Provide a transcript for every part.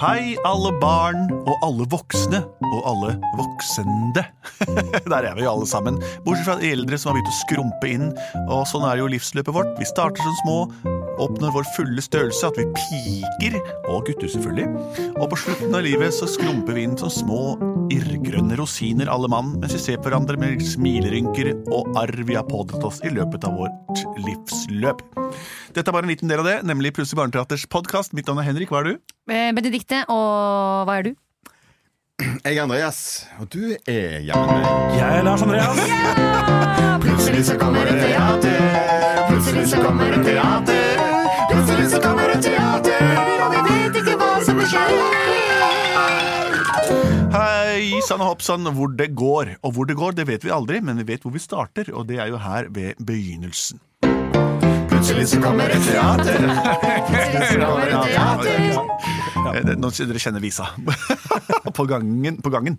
Hei, alle barn og alle voksne og alle voksende. Der er vi jo alle sammen, bortsett fra de eldre som har begynt å skrumpe inn. Og sånn er jo livsløpet vårt. Vi starter som små, oppnår vår fulle størrelse, at vi piker, og gutter selvfølgelig. Og på slutten av livet så skrumper vi inn som små irrgrønne rosiner alle mann, mens vi ser på hverandre med smilerynker og arr vi har pådratt oss i løpet av vårt livsløp. Dette er bare en liten del av det, nemlig Plutselig barneteaters podkast. Mitt navn er Henrik, hva er du? Eh, Benedikte, og hva er du? Jeg er Andreas, og du er jammen meg. Jeg er Lars Andreas. Plutselig så kommer det teater, plutselig så kommer det teater. Plutselig så kommer det teater, og vi vet ikke hva som vil skje. Hei sann og hopp sann, hvor det går. Og hvor det går, det vet vi aldri, men vi vet hvor vi starter, og det er jo her ved begynnelsen. Plutselig så kommer det teater, plutselig så kommer det teater. Eh, det- Nå kjenner dere kjenner visa. på, gangen, på gangen.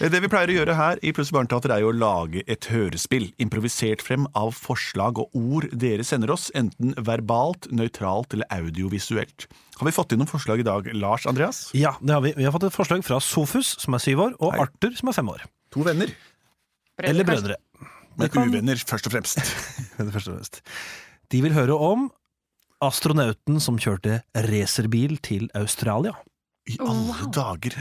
Eh, Det vi pleier å gjøre her i Plutselig barneteater, er jo å lage et hørespill. Improvisert frem av forslag og ord dere sender oss, enten verbalt, nøytralt eller audiovisuelt. Har vi fått inn noen forslag i dag, Lars Andreas? Ja, det har vi. Vi har fått et forslag fra Sofus, som er syv år, og Arthur, som er fem år. To venner. Eller brødre. Men Det kan- uvenner, først og fremst. Det er først og fremst. De vil høre om astronauten som kjørte racerbil til Australia. I alle dager.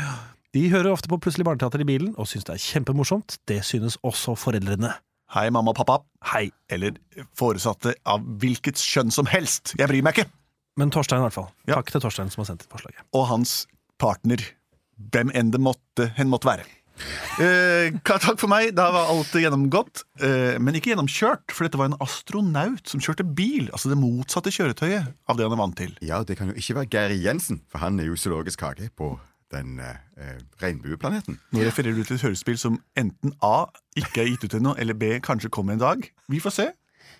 De hører ofte på Plutselig barneteater i bilen og syns det er kjempemorsomt. Det synes også foreldrene. Hei, mamma og pappa. Hei. Eller foresatte av hvilket kjønn som helst. Jeg bryr meg ikke. Men Torstein, i hvert fall. Ja. Takk til Torstein som har sendt forslaget. Og hans partner. Hvem enn det måtte, hen måtte være. Eh, ka- takk for meg. Da var alt gjennomgått. Eh, men ikke gjennomkjørt, for dette var en astronaut som kjørte bil. Altså det motsatte kjøretøyet av det han er vant til. Ja, det kan jo ikke være Geir Jensen, for han er jo zoologisk hage på den eh, regnbueplaneten. Nå refererer du til et hørespill som enten A ikke er gitt ut ennå, eller B kanskje kommer en dag. Vi får se.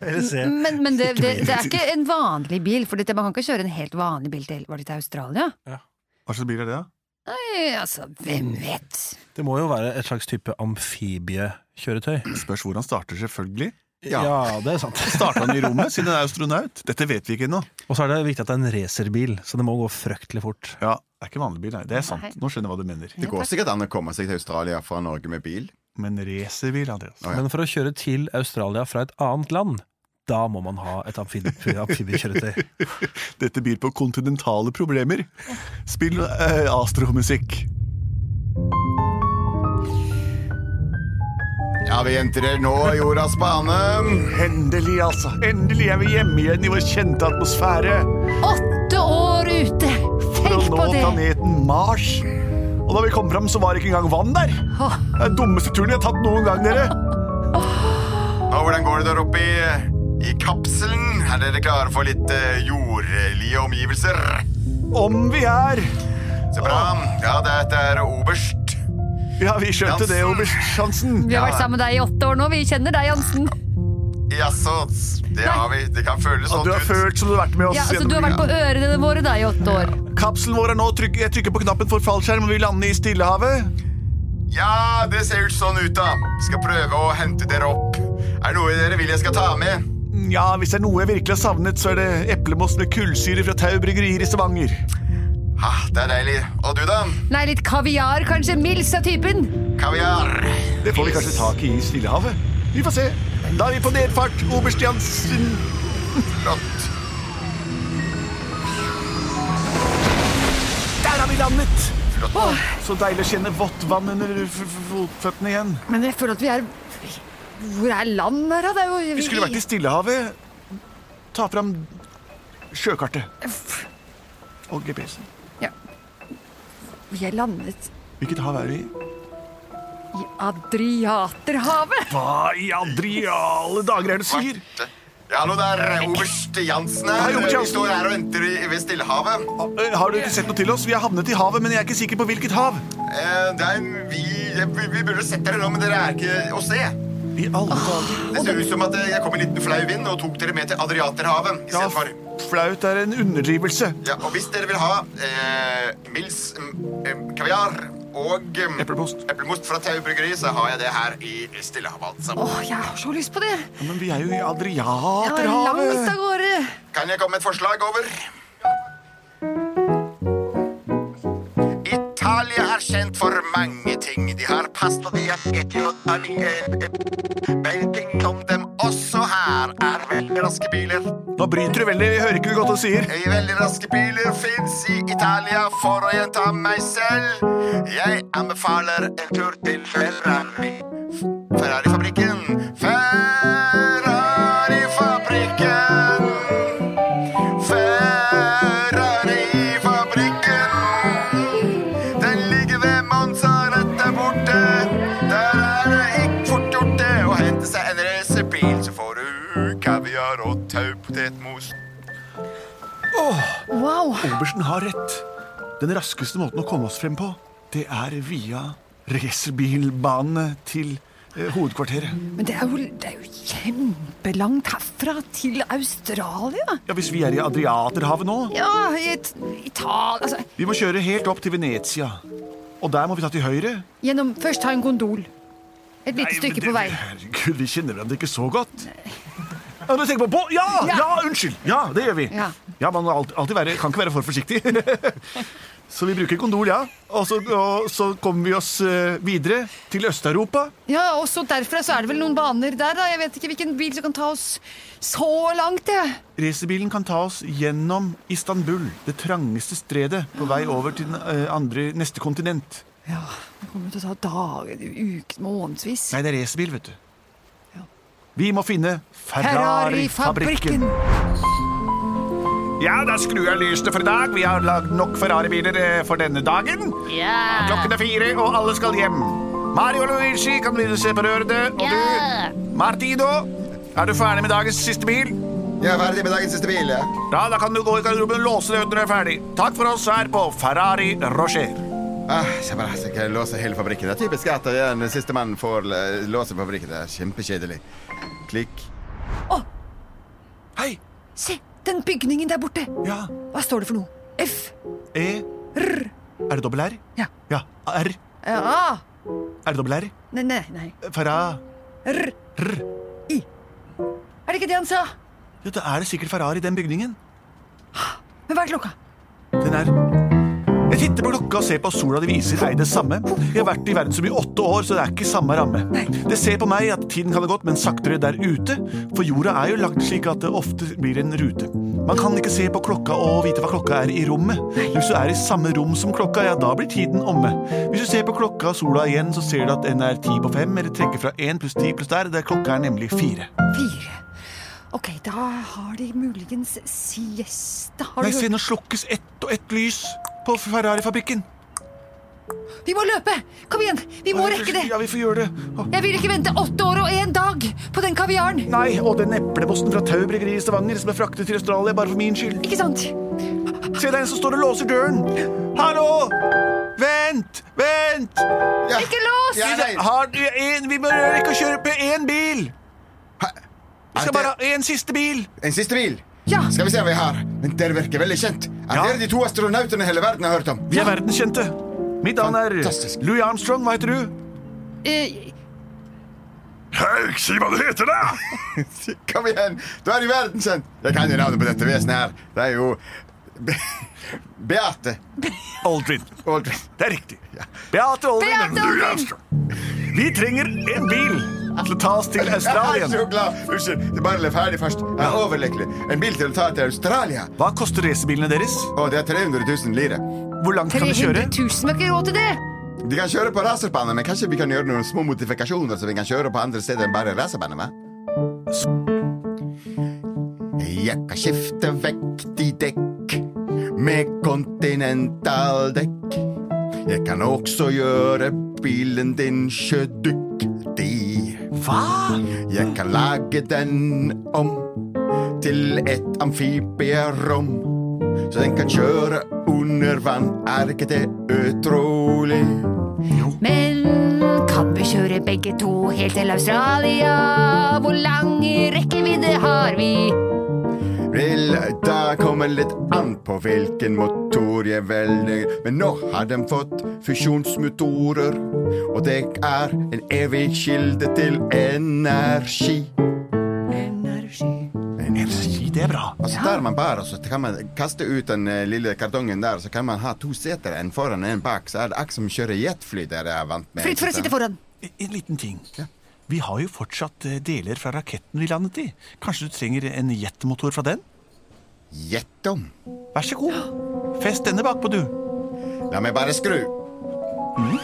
Men, men det, det, det er ikke en vanlig bil, for dette- man kan ikke kjøre en helt vanlig bil til, var det til Australia? Hva slags bil er det, da? Nei, altså, hvem vet? Det må jo være et slags type amfibiekjøretøy. Spørs hvor han starter, selvfølgelig. Ja. det er sant. Starter han i rommet, siden han er astronaut? Dette vet vi ikke ennå. Og så er det viktig at det er en racerbil, så det må gå fryktelig fort. Ja, det er ikke vanlig bil, nei. Det er sant. Nei. Nå skjønner jeg hva du mener. Det går sikkert an å komme seg til Australia fra Norge med bil. Men racerbil, Andreas. Ja. Men for å kjøre til Australia fra et annet land, da må man ha et amfib- amfibiekjøretøy. Dette byr på kontinentale problemer. Spill eh, astromusikk. Ja, vi entrer nå jordas bane. Endelig, altså. Endelig er vi hjemme igjen i vår kjente atmosfære. Åtte år ute! For å Tenk nå på det! planeten Mars. Og da vi kom fram, så var det ikke engang vann der. Det Åh, er den dummeste turen jeg har tatt noen gang, dere. Og hvordan går det der oppe i, i kapselen? Er dere klare for litt eh, jordlige omgivelser? Om vi er. Så bra. Ja, dette er oberst. Ja, vi skjønte det, Jansen. oberst Hansen. vi har vært sammen med deg i åtte år nå, vi kjenner deg, Jansen. Jaså, det har vi. Det kan føles Og sånn du har ut. følt som du har vært med oss. Ja, altså, gjennom du har vært på ørene våre da i åtte år. Kapselen vår er nå trykk, Jeg trykker på knappen for fallskjerm, og vi lander i Stillehavet. Ja, det ser ut sånn ut, da. Vi skal prøve å hente dere opp. Er det noe dere vil jeg skal ta med? Ja, Hvis det er noe jeg virkelig har savnet, så er det eplemos med kullsyre fra Tau bryggerier i Stavanger. Ha, det er deilig. Og du, da? Nei, litt kaviar, kanskje. Mils av typen. Kaviar. Det får vi kanskje tak i i Stillehavet. Vi får se. Da er vi på nedfart, oberst Jansen. Flott. Der har vi landet! Flott. Åh, Så deilig å kjenne vått vann under f- f- fotføttene igjen. men jeg føler at vi er Hvor er land her, da? Det er jo Vi skulle vært i Stillehavet. Ta fram sjøkartet og GPS-en. Ja. Vi er landet Hvilket hav er vi i? i Adriaterhavet. Hva i andre jale dager er det du sier? Hallo der, eh, oberst Jansen her. Hei, oberst Jansen. Vi står her og venter i- ved Stillehavet. Eh, Har du ikke sett noe til oss? Vi har havnet i havet, men jeg er ikke sikker på hvilket hav. Eh, Det er, vi, vi vi burde sett dere nå, men dere er ikke å se. I alle dager. Det ser ut som at eh, jeg kom i en liten flau vind og tok dere med til Adriaterhavet. i Ja, stedet for. flaut er en underdrivelse. Ja, og hvis dere vil ha eh, Mils mm, mm, kaviar og eh, Eplepost. eplemost fra Tau bryggeri, så har jeg det her i Stillehavet. altså. Åh, jeg har så lyst på det! Ja, men vi er jo i Jeg var langt Adriaterhavet. av gårde. Kan jeg komme med et forslag? Over. Italia er kjent for mange ting. De har pasta, de har spaghetti og taling- eh, eh, Men ting om dem også her er veldig raske biler. Nå bryter du veldig, vi hører ikke godt hva du sier. Eh, Veldig raske biler fins i Italia, for å gjenta meg selv. Jeg anbefaler en tur til Ferrari. Ferrari-fabrikken. Ferrari-fabrikken. Ferrari-fabrikken. Den ligger ved Monza rett der borte. Der er det ikke fort gjort det å hente seg en racerbil, så får du kaviar og taupotetmos. Wow. Obersten har rett. Den raskeste måten å komme oss frem på, det er via racerbilbanene til eh, hovedkvarteret. Men det er, jo, det er jo kjempelangt herfra til Australia. Ja, Hvis vi er i Adriaterhavet nå, Ja, i It- Italia altså, vi må kjøre helt opp til Venezia. Og der må vi ta til høyre. gjennom, Først ta en gondol. Et lite Nei, stykke men på vei. det- Herregud, vi kjenner hverandre ikke så godt. Ja, du tenker på båt? Ja, ja! Unnskyld! Ja, det gjør vi. Ja. eh, Ja, og så Derfra så er det vel noen baner der, da. Jeg vet ikke hvilken bil som kan ta oss så langt, jeg. Racerbilen kan ta oss gjennom Istanbul, det trangeste stredet på vei Ah. over til den eh, andre, neste kontinent. Ja, det kommer jo til å ta dager, uker, månedsvis. Nei, det er racerbil, vet du. Ja. Vi må finne Ferrari-fabrikken. Ferrari-fabrikken. Ja, da skrur jeg lysene for i dag. Vi har lagd nok Ferrari-biler eh, for denne dagen. Klokken er fire, og alle skal hjem. Mario og Luigi kan begynne å se på rørene. Og du, Martido, er du ferdig med dagens siste bil? Jeg er ferdig med dagens siste bil. Ja. Ja, da kan du gå i garderoben og låse deg ut når du er ferdig. Takk for oss her på Ferrari Rocher. Ah, jeg bare jeg skal låse hele fabrikken. Det er typisk at jeg er den siste mannen får eh, låse fabrikken. Det er kjempekjedelig. Klikk. Hei. Se, den bygningen der borte. Ja. Hva står det for noe? F. E. Er det dobbel R? Ja. Ja. R. Ja. A. Er det dobbel R? Nei, nei, nei. Ferra... R. R. I. Er det ikke det han sa? Ja, da er det sikkert Ferrari i den bygningen. Men hva er klokka? Den er Jeg titter på klokka og ser på at sola de viser deg det samme. Jeg har vært i verdensrom i åtte år, så det er ikke samme ramme. Det ser på meg at tiden kan ha gått, men saktere der ute, for jorda er jo lagt slik at det ofte blir en rute. Man kan ikke se på klokka og vite hva klokka er i rommet. Hvis du er i samme rom som klokka, ja, da blir tiden omme. Hvis du ser på klokka og sola igjen, så ser du at den er ti på fem, eller trekker fra én pluss ti pluss der, der klokka er nemlig fire. Fire. Ok, da har de muligens siesta. Har Nei, du se, hørt? nå slukkes ett og ett lys på Ferrari-fabrikken. Vi må løpe! Kom igjen, vi må rekke det. Ja, vi får gjøre det. Å, Jeg vil ikke vente åtte år og én dag på den kaviaren. Nei, og den epleposten fra Tau bryggeri i Stavanger som er fraktet til Australia bare for min skyld. Ikke sant? Se, det er en som står og låser døren. Hallo! Vent! Vent! Ja. Ikke lås! Ja, nei. Har du en, vi må rekke å kjøpe én bil. Hæ? Vi Er skal det bare ha én siste bil. en siste bil? Ja. Skal vi se hva vi har. Men dere virker veldig kjent. Er Ja. dere de to astronautene hele verden har hørt om? Vi er verdenskjente. Mitt navn er Fantastisk. Louis Armstrong. Hva heter du? Eh, Hei, si hva du heter, da! Kom igjen, du er jo verdenskjent! Jeg kan jo navnet på dette vesenet her. Det er jo Be Beate Aldrin. Aldrin. Det er riktig. Beate Aldrin. Beate Aldrin. Vi trenger en bil til å ta oss til Jeg er Australia. så glad! Unnskyld, det er bare ble ferdig først. Jeg er overlykkelig. En bil til å ta til Australia. Hva koster racerbilene deres? Å, det er 300 000 lire. Hvor langt kan de 300 kjøre? 000 har ikke råd til det. De kan kjøre på racerbanen, men kanskje vi kan gjøre noen små modifikasjoner, så vi kan kjøre på andre steder enn bare racerbanen, hva? Jeg kan skifte vekt i dekk med kontinentaldekk. Jeg kan også gjøre bilen din sjødyktig. Hva? Jeg kan lage den om til et amfibierom. Så den kan kjøre under vann. Er ikke det utrolig? Men kan vi kjøre begge to helt til Australia? Hvor lang rekkevidde har vi? Vel, da kommer litt an på hvilken motor jeg velger. Men nå har de fått fusjonsmotorer, og det er en evig kilde til energi. Energi. Energi, det er bra. Altså Der man bærer, så kan man kaste ut den eh, lille kartongen der, så kan man ha to seter, en foran og en bak. Så er det akkurat som å kjøre jetfly, der jeg er vant med. Fritt for å sitte foran. En liten ting. Vi har jo fortsatt eh, deler fra raketten vi landet i. Kanskje du trenger en jetmotor fra den? Jettom. Vær så god. Fest denne bakpå, du. Mm, La meg bare skru,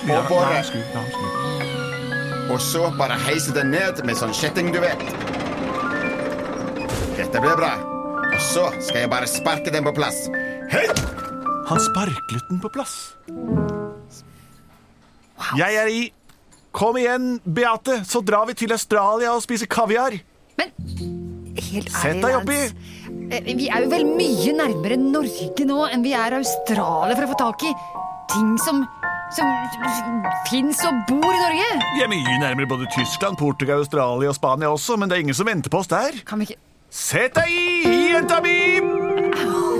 Ja, bare- ja, skru, ja, skru. og så bare heise den ned med sånn kjetting, du vet. Dette blir bra. Og så skal jeg bare sparke den på plass. Hei! Han sparklet den på plass. Jeg er i. Kom igjen, Beate, så drar vi til Australia og spiser kaviar. Men helt ærlig, Sett deg oppi. Lance, eh, Vi er jo vel mye nærmere Norge nå enn vi er Australia for å få tak i ting som, som fins og bor i Norge. Vi er mye nærmere både Tyskland, Portugal, Australia og Spania også, men det er ingen som venter på oss der. Kan vi ikke Sett deg i, jenta mi!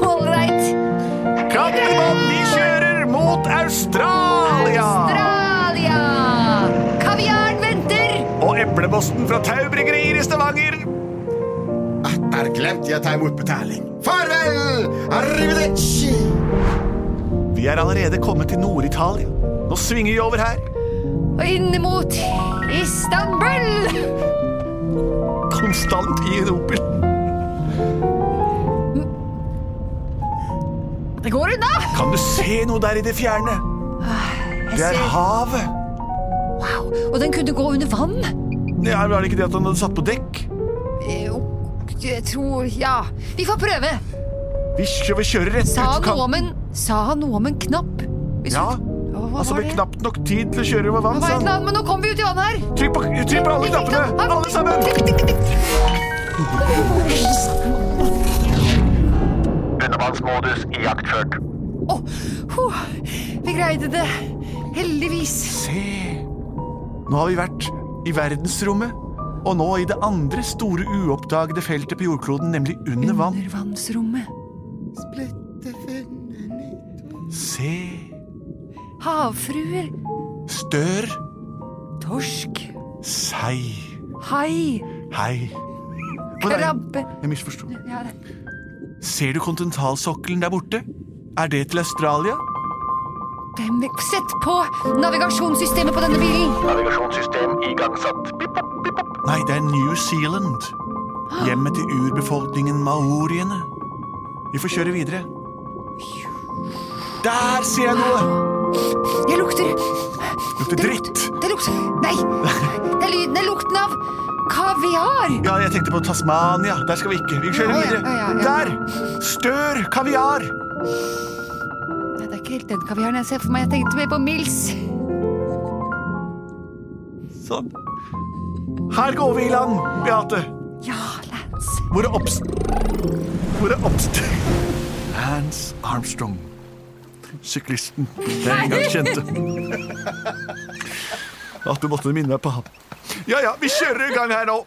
Ålreit! Kattebåt, vi kjører mot Australia! Australia! Kaviaren venter! Og eplemosten fra Tau Bryggerier i Stavanger. Ah, Der glemte jeg å ta imot betaling. Farvel! Arrivederci! Vi er allerede kommet til Nord-Italia. Nå svinger vi over her. Og inn mot Istanbul! Konstantinopel. Det går unna! Kan du se noe der i det fjerne? Jeg Det er ser- havet. Wow. Og den kunne gå under vann? Ja, var det ikke det at han hadde satt på dekk? Eh, jo, Jeg tror Ja. Vi får prøve. Vi kjører, vi kjører rett Sa ut han noe om kanten. en, sa han noe om en knapp? Hvis Ja, du- Å, hva altså var med det? knapt nok tid til å kjøre over vann, Hva sa er et han. navn? Men nå kom vi ut i vannet her. Trykk på, trykk på alle knappene! Alle sammen! Undervannsmodus ijaktført. Å, huh, vi greide det. Heldigvis. Se! Nå har vi vært i verdensrommet, og nå i det andre store uoppdagede feltet på jordkloden, nemlig under vann. Undervannsrommet. Se! Havfruer. Stør! Torsk. Sei! Hai. Hei! Hvor er- Krabbe. Jeg misforsto. Ja, det- Ser du kontinentalsokkelen der borte? Er det til Australia? Hvem Sett på navigasjonssystemet på denne bilen. Navigasjonssystem igangsatt. Pip, pop, pip, pop. Nei, det er New Zealand. Hjemmet til urbefolkningen maoriene. Vi får kjøre videre. Der ser jeg noe! Jeg lukter Lukter dritt. Det lukter Nei. Det er lyden. Det er lukten av kaviar. Ja, jeg tenkte på Tasmania. Der skal vi ikke. Vi kjører Ja, ja, videre. ja, ja, ja. Der! Stør kaviar. Nei, det er ikke helt den kaviaren jeg ser for meg. Jeg tenkte mer på Mills. Sånn. Her går vi i land, Beate. Ja, Lance. Hvor er oppst... Hvor er oppst... Hans Armstrong. Syklisten. Den gang kjente. At du måtte minne meg på ham. Ja, ja, vi kjører i gang her nå.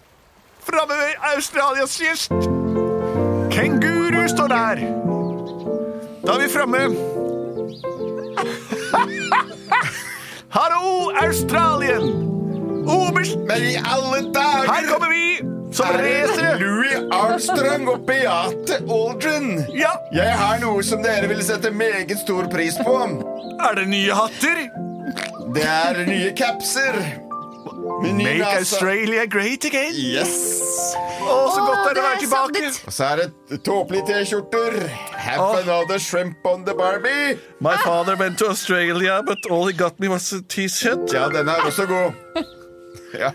Framme ved Australias kyst. Kenguru står der. Da er vi framme. Hallo, Australien! Oberst, Men i alle dager her kommer vi som er det racere. Louis Armstrong og Beate Aldrin. Ja, Jeg har noe som dere vil sette meget stor pris på. Er det nye hatter? Det er nye capser. Med ny Make nasa. Australia great again. Yes. Å, så godt Å, er det å være det er tilbake. savnet. Og så er det tåpelige T-skjorter. Have Åh. another shrimp on the Barbie. My father went to Australia, but all he got me was a t-shirt. Ja, den er også god. Ja.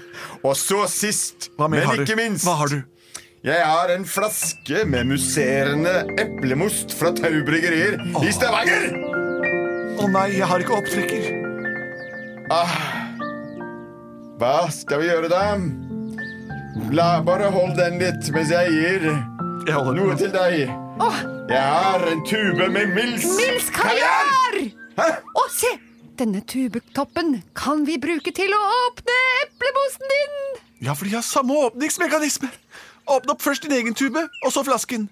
Og så sist, Hva mer men har du? ikke minst Hva har du? Jeg har en flaske med musserende eplemost fra Tau Bryggerier i Stavanger. Å nei, jeg har ikke opptrekker. Hva skal vi gjøre da? La, bare hold den litt mens jeg gir Jeg holder. Noe til deg. Åh, Jeg har en tube med Mils Mils kaviar! Å, se! Denne tubetoppen kan vi bruke til å åpne eplemosen din! Ja, for de har samme åpningsmekanisme. Åpne opp først din egen tube, og så flasken.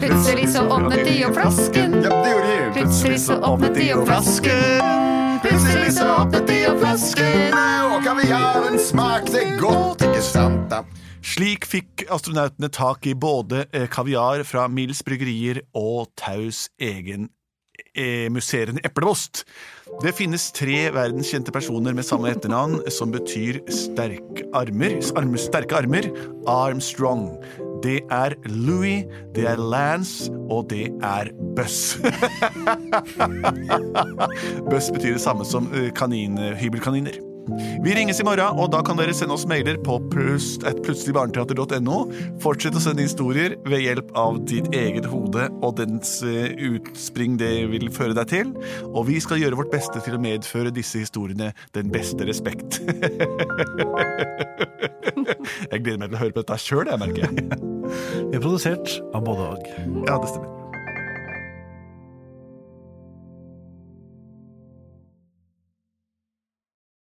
Plutselig så åpnet de opp flasken. Ja, det gjorde de. Plutselig så åpnet de opp flasken. Plutselig så åpnet de opp flasken. Og kaviaren smakte godt, ikke sant da? Slik fikk astronautene tak i både eh, kaviar fra Mills bryggerier og Taus egen eh, musserende eplemost. Det finnes tre verdenskjente personer med samme etternavn, som betyr sterke armer, arm, sterke armer, Armstrong. Det er Louis, det er Lance, og det er Buss. Buss betyr det samme som eh, kanin, hybelkaniner. Vi ringes i morgen, og da kan dere sende oss mailer på plust- at plutseligbarneteater.no. Fortsett å sende historier ved hjelp av ditt eget hode og dens eh, utspring det vil føre deg til. Og vi skal gjøre vårt beste til å medføre disse historiene den beste respekt. jeg gleder meg til å høre på dette sjøl, jeg merker jeg. Vi er produsert av både og. Ja, det stemmer.